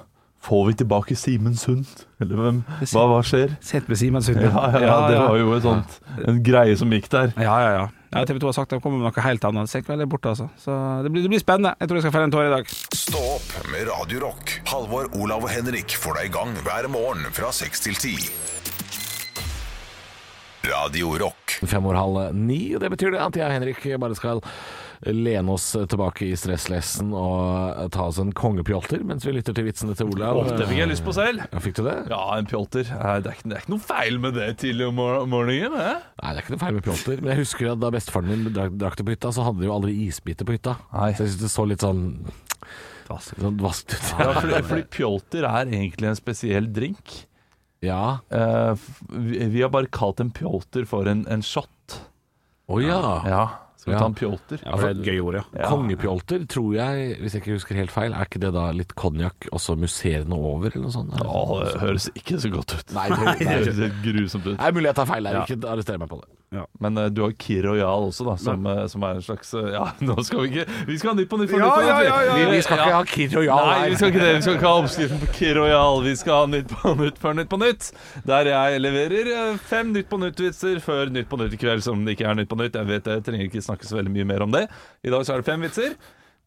E: Får vi tilbake Simensund? Eller hvem? Hva, hva skjer?
G: Sent med Simen Sundby.
E: Ja, ja, ja, det var jo et sånt, en greie som gikk der.
G: Ja, ja, ja. ja TV 2 har sagt de kommer med noe helt annet. Senkveld er borte, altså. Så det blir, det blir spennende. Jeg tror jeg skal felle en tåre i dag.
A: Stå opp med Radio Rock. Halvor, Olav og Henrik får deg i gang hver morgen fra 6 til 10. Radio Rock.
C: Fem år halv ni, og det betyr det at jeg og Henrik bare skal lene oss tilbake i stresslessen og ta oss en kongepjolter mens vi lytter til vitsene til Olav.
E: Åh, det fikk jeg lyst på selv.
C: Ja, fikk du det?
E: Ja, en pjolter. Eh, Det er ikke, det er ikke noe feil med det tidlig om mor- morgenen. Eh?
C: Nei, det er ikke noe feil med pjolter, men jeg husker at da bestefaren min drakk, drakk det på hytta, så hadde de jo aldri isbiter på hytta.
E: Nei.
C: Så jeg synes det så litt sånn Sånn vaskt ut.
E: Ja, fordi, fordi pjolter er egentlig en spesiell drink.
C: Ja.
E: Eh, f- vi, vi har bare kalt en pjolter for en, en shot.
C: Å ja.
E: Ja, skal vi
C: Ja.
E: ta en pjolter?
G: Ja, for det er et gøy ord, ja.
C: Kongepjolter tror jeg, hvis jeg ikke husker helt feil, er ikke det da litt konjakk og så musserende over, eller noe sånt? eller?
E: Åh, det høres ikke så godt ut.
C: Nei, det,
E: Det høres helt grusomt ut.
C: det er mulig jeg tar feil her, ikke arrester meg på det.
E: Men eh, du har Kir Royal også, da, som, eh, som er en slags eh, Ja, nå skal vi ikke Vi skal ha Nytt på Nytt for
G: Ja,
E: nytt.
G: ja, ja, ja.
C: Vi, vi skal ikke ha Kid Royal
E: Nei,
C: her.
E: vi skal ikke det. Vi skal ikke ha oppskriften på Kir Royal. Vi skal ha Nytt på Nytt før Nytt på Nytt. Der jeg leverer eh, fem Nytt på Nytt-vitser før Nytt på Nytt i kveld, som det ikke er Nytt på Nytt. Jeg vet det, jeg trenger ikke snakke så veldig mye mer om det. I dag så er det fem vitser.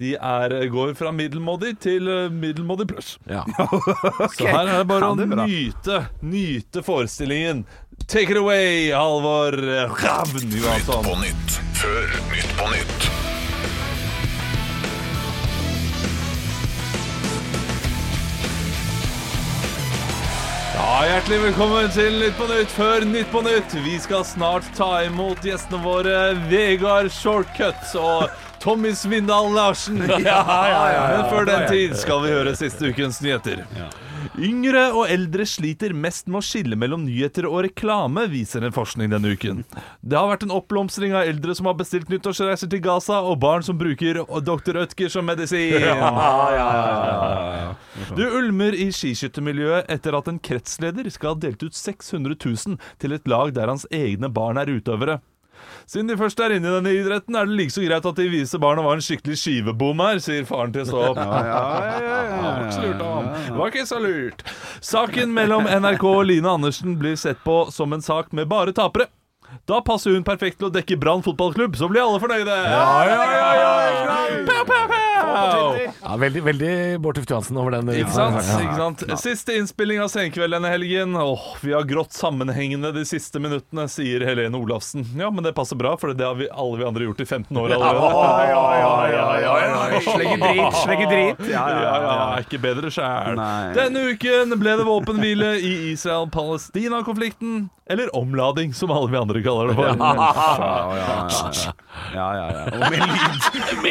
E: de er, eh, går fra middelmådig til eh, middelmådig pluss.
C: Ja.
E: Så her er det bare
G: Ja, det er bra.
E: å nyte, nyte forestillingen. Take it away, Halvor Ravn
A: Nytt
E: Johansson.
A: på nytt før Nytt på nytt.
E: Ja, Hjertelig velkommen til Nytt på Nytt før Nytt på Nytt. Vi skal snart ta imot gjestene våre Vegard Shortcut og Tommy Svindal Larsen. Men før den tid skal vi høre siste ukens nyheter. Yngre og eldre sliter mest med å skille mellom nyheter og reklame, viser en forskning denne uken. Det har vært en oppblomstring av eldre som har bestilt nyttårsreiser til Gaza, og barn som bruker Dr. Ødker som medisin. Det ulmer i skiskyttermiljøet etter at en kretsleder skal ha delt ut 600 000 til et lag der hans egne barn er utøvere. Siden de først er inne i denne idretten, er det like så greit at de viser barna hva en skikkelig skivebom er, sier faren til Stå opp. Det var ikke så lurt av ham. Det var ikke så lurt. Saken mellom NRK og Line Andersen blir sett på som en sak med bare tapere. Da passer hun perfekt til å dekke Brann fotballklubb, så blir alle fornøyde. Pow, pow, pow!
C: Ja, veldig, veldig Bård Tufte Johansen over den.
E: Ikke sant? Ikke sant? Siste innspilling av Senkveld denne helgen. Åh, vi har grått sammenhengende de siste minuttene, sier Helene Olafsen. Ja, men det passer bra, for det har vi, alle vi andre gjort i 15 år allerede.
G: Slegge drit, slegge drit. Ah. Ja,
E: Ja,
G: ja,
E: ja,
G: ja.
E: er ikke bedre sjæl.
G: Nei.
E: Denne uken ble det våpenhvile i Israel-Palestina-konflikten. Eller omlading, som alle vi andre kaller det for.
G: ja, ja, ja. Og med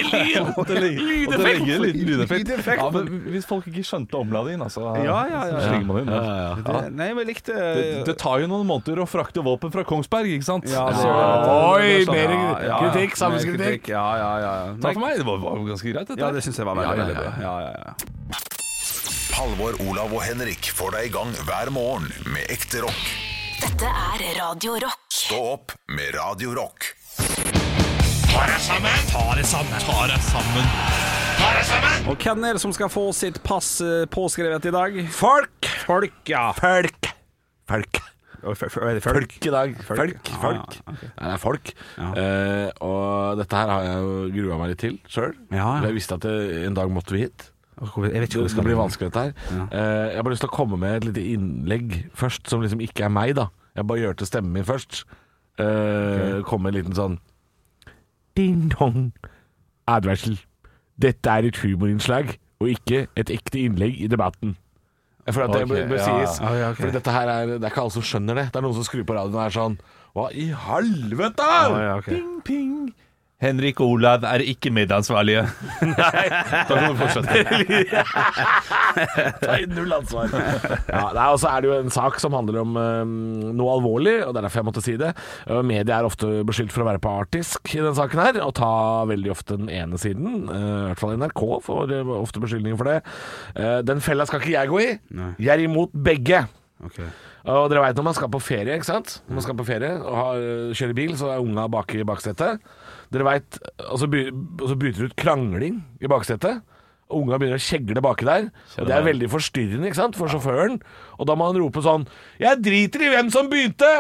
G: lyd. Med
E: Og til å legge- og til å legge en liten lydeffekt. Ja, men hvis folk ikke skjønte omladingen, altså,
G: Ja, ja, ja.
E: så slenger man inn.
G: Det, nei, men jeg likte
E: Det, det tar jo noen måneder å frakte våpen fra Kongsberg, ikke sant?
G: Ja, det-
E: Så-
C: Oi,
G: Ja,
C: mer
G: sånn- ja, ja.
C: kritikk,
G: Mer
C: samfunnskritikk.
G: Ja, ja, ja.
E: Takk for meg, det var, var jo ganske greit dette.
G: Ja, det syns jeg var veldig,
C: Ja, ja,
G: veldig
C: ja.
G: bra. Ja, ja, ja.
A: Halvor, Olav og Henrik får deg i gang hver morgen med ekte rock.
B: Dette er Radio Rock.
A: Stå opp med Radio Rock.
G: Og hvem er det som skal få sitt pass eh, påskrevet i dag? Folk! Folk, ja. Folk. Folk. Er det folk?
C: Folk i dag. Folk.
G: Ja,
C: folk.
G: ja, ok.
C: Nei, det er folk.
G: Ja.
C: Eh, og dette her har jeg jo grua meg litt til sjøl.
G: Ja, ja.
C: Jeg visste at det, en dag måtte vi hit.
G: Jeg vet ikke
C: Det,
G: hvor det
C: det
G: skal
C: blir
G: bli
C: vanskelig dette her. Eh, jeg har bare lyst til å komme med et lite innlegg først, som liksom ikke er meg, da. Jeg bare gjør til stemmen min først. Eh, Komme med en liten sånn Ding-dong. Advarsel. Dette er et humorinnslag, og ikke et ekte innlegg i debatten. Jeg føler at det
E: Ok,
C: bør- bør
E: ja.
C: sies.
G: Ah, ja, ok.
C: For dette her er, det er ikke alle som skjønner det. Det er noen som skrur på radioen og er sånn Hva i helvete?!
G: ja, ok.
E: Ping, ping. Henrik og Olav er ikke medansvarlige. Nei, da kan du fortsette.
C: Nei, null ansvar. ja, nei, og så er det jo en sak som handler om eh, noe alvorlig, og det er derfor jeg måtte si det. Eh, media er ofte beskyldt for å være partisk i den saken her, og ta veldig ofte den ene siden. eh, I hvert fall NRK får eh, ofte beskyldninger for det. Eh, den fella skal ikke jeg gå i. Jeg er imot begge. Og dere veit når man skal på ferie, ikke sant? Når man skal på ferie og har, kjører bil, så er unga bak i baksetet. Dere vet, og, så by- og så bryter det ut krangling i baksetet. Og unga begynner å kjegle baki der. Og det er veldig forstyrrende ikke sant? for sjåføren. Og da må han rope sånn Jeg driter i hvem som begynte!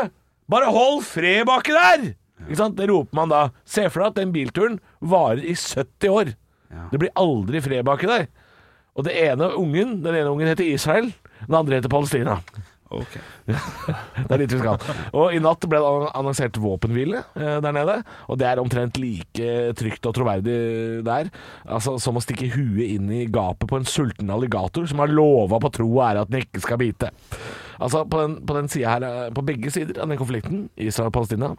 C: Bare hold fred baki der! Ikke sant? Det roper man da. Se for deg at den bilturen varer i 70 år. Det blir aldri fred baki der. Og det ene ungen, den ene ungen heter Israel, den andre heter Palestina.
G: Ok.
C: Det er dit vi skal. Og i natt ble det annonsert våpenhvile eh, der nede. Og det er omtrent like trygt og troverdig der altså, som å stikke huet inn i gapet på en sulten alligator som har lova på tro og ære at den ikke skal bite. Altså, på, den, på, den siden her, eh, på begge sider av den konflikten, Israel og Palestina,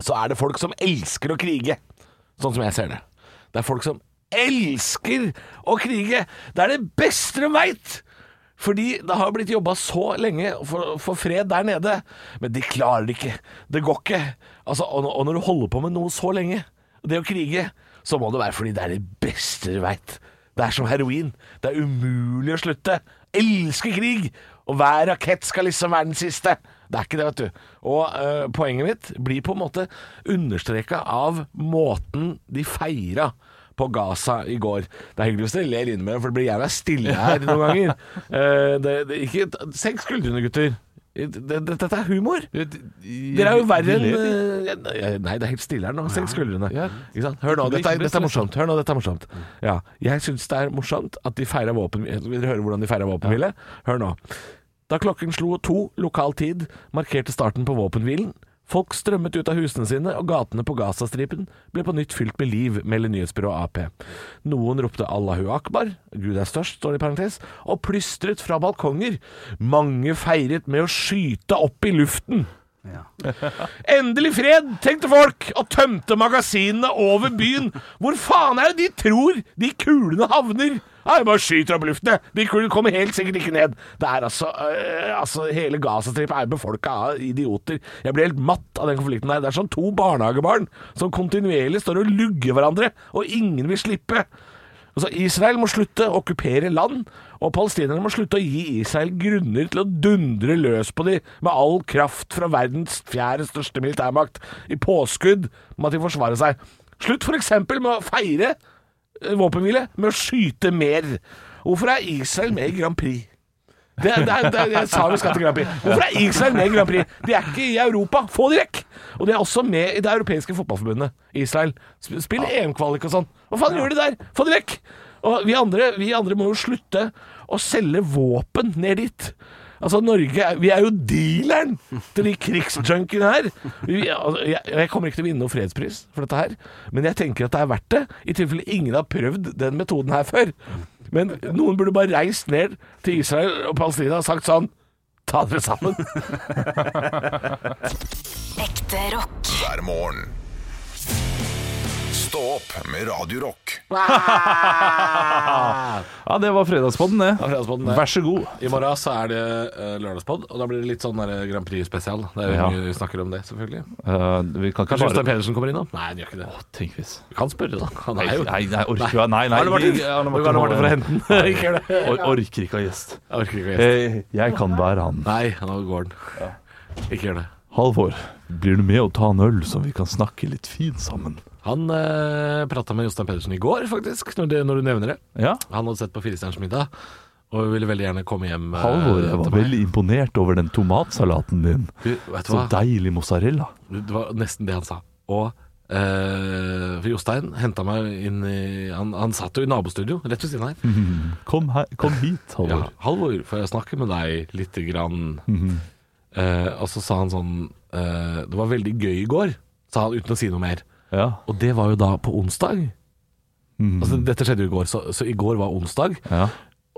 C: så er det folk som elsker å krige. Sånn som jeg ser det. Det er folk som elsker å krige. Det er det beste de veit! Fordi det har blitt jobba så lenge for, for fred der nede. Men de klarer det ikke. Det går ikke. Altså, og, når- og når du holder på med noe så lenge, det å krige, så må det være fordi det er det beste du veit. Det er som heroin. Det er umulig å slutte. Elsker krig! Og hver rakett skal liksom være den siste. Det er ikke det, vet du. Og eh, poenget mitt blir på en måte understreka av måten de feira på Gaza i går. Det er hyggelig hvis dere ler innimellom, for det blir jævla stille her noen ganger. Eh, det, det, ikke, senk skuldrene, gutter. det- det- Dette er humor!
E: Dere
C: Dere er jo verre enn eh, Nei, det er helt stille her nå. Senk skuldrene.
E: Ja.
C: Ikke sant? Hør nå,
E: Ikke bli-
C: dette er,
E: ikke bli
C: dette er morsomt. Hør nå, dette er morsomt. Ja. Jeg syns det er morsomt at de feirer våpen... Vil dere høre hvordan de feirer våpenhvile? Hør nå. Da klokken slo to lokal tid, markerte starten på våpenhvilen. Folk strømmet ut av husene sine, og gatene på Gazastripen ble på nytt fylt med liv, melder nyhetsbyrået AP. Noen ropte Allahu akbar, Gud er størst, står det i parentes, og plystret fra balkonger. Mange feiret med å skyte opp i luften. Endelig fred, tenkte folk, og tømte magasinene over byen. Hvor faen er det de tror de kulene havner? Nei, bare skyter opp luftene. De kulene kommer helt sikkert ikke ned. Det er altså, øh, altså Hele Gazastripen er befolka av idioter. Jeg blir helt matt av den konflikten her. Det er som to barnehagebarn som kontinuerlig står og lugger hverandre, og ingen vil slippe. Altså, Israel må slutte å okkupere land, og palestinerne må slutte å gi Israel grunner til å dundre løs på de med all kraft fra verdens fjerde største militærmakt, i påskudd med at de forsvarer seg. Slutt f.eks. med å feire eh, våpenhvile med å skyte mer. Hvorfor er Israel med i Grand Prix? Det, det, er- det, er- jeg sa vi skal til Grand Prix. Hvorfor er Israel med i Grand Prix? De er ikke i Europa. Få de vekk! Og de er også med i det europeiske fotballforbundet, Israel. Sp- Spill EM-kvalik og sånn. Hva faen gjør de der? Få de vekk! Og vi andre, vi andre må jo slutte å selge våpen ned dit. Altså Norge, er- Vi er jo dealeren til de krigsjunkiene her. Vi, altså, jeg, jeg kommer ikke til å vinne noen fredspris for dette her, men jeg tenker at det er verdt det. I tilfelle ingen har prøvd den metoden her før. Men noen burde bare reist ned til Israel og Palestina og sagt sånn Ta dere sammen!
B: Ekte rock.
A: hver morgen. Stå opp med Radio Rock.
E: Ja, det var fredagspodden, det.
C: Fredagspodden, det.
E: Vær så god.
C: I morgen så er det eh, lørdagspod, og da blir det litt sånn der Grand Prix-spesial. Det er jo
E: Ja.
C: mye vi snakker om det, selvfølgelig.
E: Eh, vi kan ikke
C: Kanskje
E: bare
C: Jostein Pedersen kommer innom? Nei, han gjør ikke det.
E: Tenk hvis
C: Vi kan spørre, da. Han
E: Nei,
C: er jo
E: nei, nei, orker jo Nei, nei.
C: Arne Martin!
E: vi-
C: Arne
E: Martin
C: Martin for å
E: Håvard.
C: hente den. Ikke gjør det.
E: Or orker ikke å ha gjest.
C: Jeg orker ikke å gjeste.
E: Eh, jeg kan være han.
C: Nei, nå går den. Ikke gjør det.
E: Halvor, blir du med å ta en øl, så vi kan snakke litt fint sammen?
C: Han eh, prata med Jostein Pedersen i går, faktisk, når, det, når du nevner det.
E: Ja.
C: Han hadde sett på Firestjerners middag, og ville veldig gjerne komme hjem. eh,
E: Halvor, jeg var
C: til meg.
E: veldig imponert over den tomatsalaten din.
C: Du, vet du
E: Så
C: hva?
E: deilig mozzarella.
C: Det var nesten det han sa. Og eh, for Jostein henta meg inn i han, han satt jo i nabostudio rett ved siden her.
E: Kom, her, kom hit,
C: Ja,
E: Halvor.
C: Halvor, får jeg snakke med deg lite grann? Eh, og så sa han sånn eh, Det var veldig gøy i går, sa han uten å si noe mer.
E: Ja.
C: Og det var jo da på onsdag. Altså, dette skjedde jo i går, så, så i går var onsdag.
E: ja.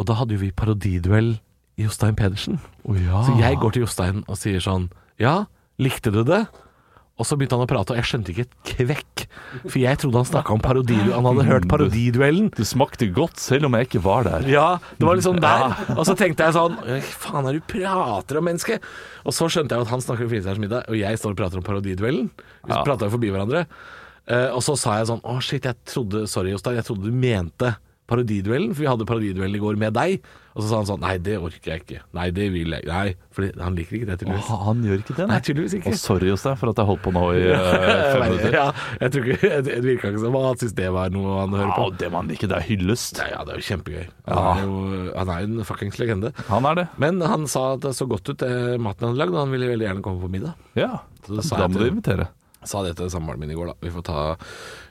C: Og da hadde jo vi parodiduell i Jostein Pedersen.
E: Å ja.
C: Så jeg går til Jostein og sier sånn Ja, likte du det? Og så begynte han å prate, og jeg skjønte ikke et kvekk. For jeg trodde han snakka om parodiduell. Han hadde hørt parodiduellen.
E: Det smakte godt, selv om jeg ikke var der.
C: Ja, det var liksom der. Og så tenkte jeg sånn «Hva Faen er det du prater om, menneske? Og så skjønte jeg at han snakker om Firestjerners middag, og jeg står og prater om parodiduellen. Vi
E: Ja.
C: prata jo forbi hverandre. Eh, og så sa jeg sånn Å, shit, jeg trodde Sorry, Jostein, jeg trodde du mente parodiduellen, for vi hadde parodiduellen i går med deg. Og så sa han sånn Nei, det orker jeg ikke. Nei, det vil jeg ikke. Nei, for han liker ikke det,
E: Å,
C: tydeligvis.
E: han gjør ikke det,
C: Nei, tydeligvis ikke.
E: Å, sorry, Jostein, for at jeg holdt på nå i eh, fem minutter.
C: ja, jeg tror ikke, det virka ikke som han syntes det var noe han hører
E: Ja,
C: på.
E: og det man ikke, det er hyllest.
C: Ja, ja, det er jo kjempegøy. Han er jo han er jo en fuckings legende.
E: Han er det.
C: Men han sa at det så godt ut, det maten han hadde lagd, og han ville veldig gjerne komme på middag.
E: Ja.
C: Så det sa
E: Da
C: jeg
E: må du
C: til-
E: invitere.
C: Sa det til samboeren min i går, da. Vi får, ta,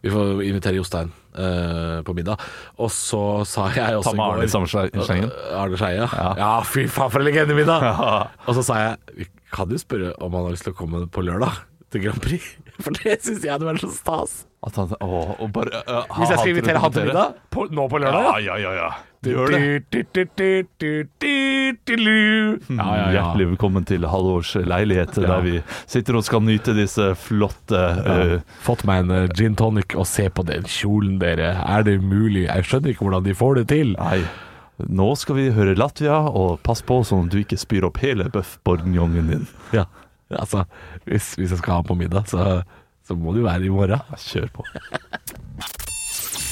C: vi får invitere Jostein eh, på middag. Og så sa jeg også
E: Ta med Arne
C: i
E: i samme
C: går
E: sle- slengen.
C: Arne Skeie, ja. ja. Fy faen, for en legendemiddag!
E: Ja.
C: Og så sa jeg Vi kan jo spørre om han har lyst til å komme på lørdag til Grand Prix. For det syns jeg hadde vært så stas.
E: At han, å, og bare, eh, ha
C: Hvis jeg skal
E: til å
C: invitere han til
E: invitere.
C: middag på, nå på lørdag?
E: Ja, ja, ja. ja. Gjør det.
C: Ja, ja, ja.
E: Mm, Hjertelig velkommen til Halvors leilighet, der vi sitter og skal nyte disse flotte eh,
C: Fått meg en eh, gin tonic, og se på den kjolen, dere. Er det mulig? Jeg skjønner ikke hvordan de får det til.
E: Nei, nå skal vi høre Latvia, og pass på sånn at du ikke spyr opp hele bøff bourguignonen din.
C: Ja, altså, hvis, hvis jeg skal ha på middag, så, så må det jo være i morgen.
E: Kjør på.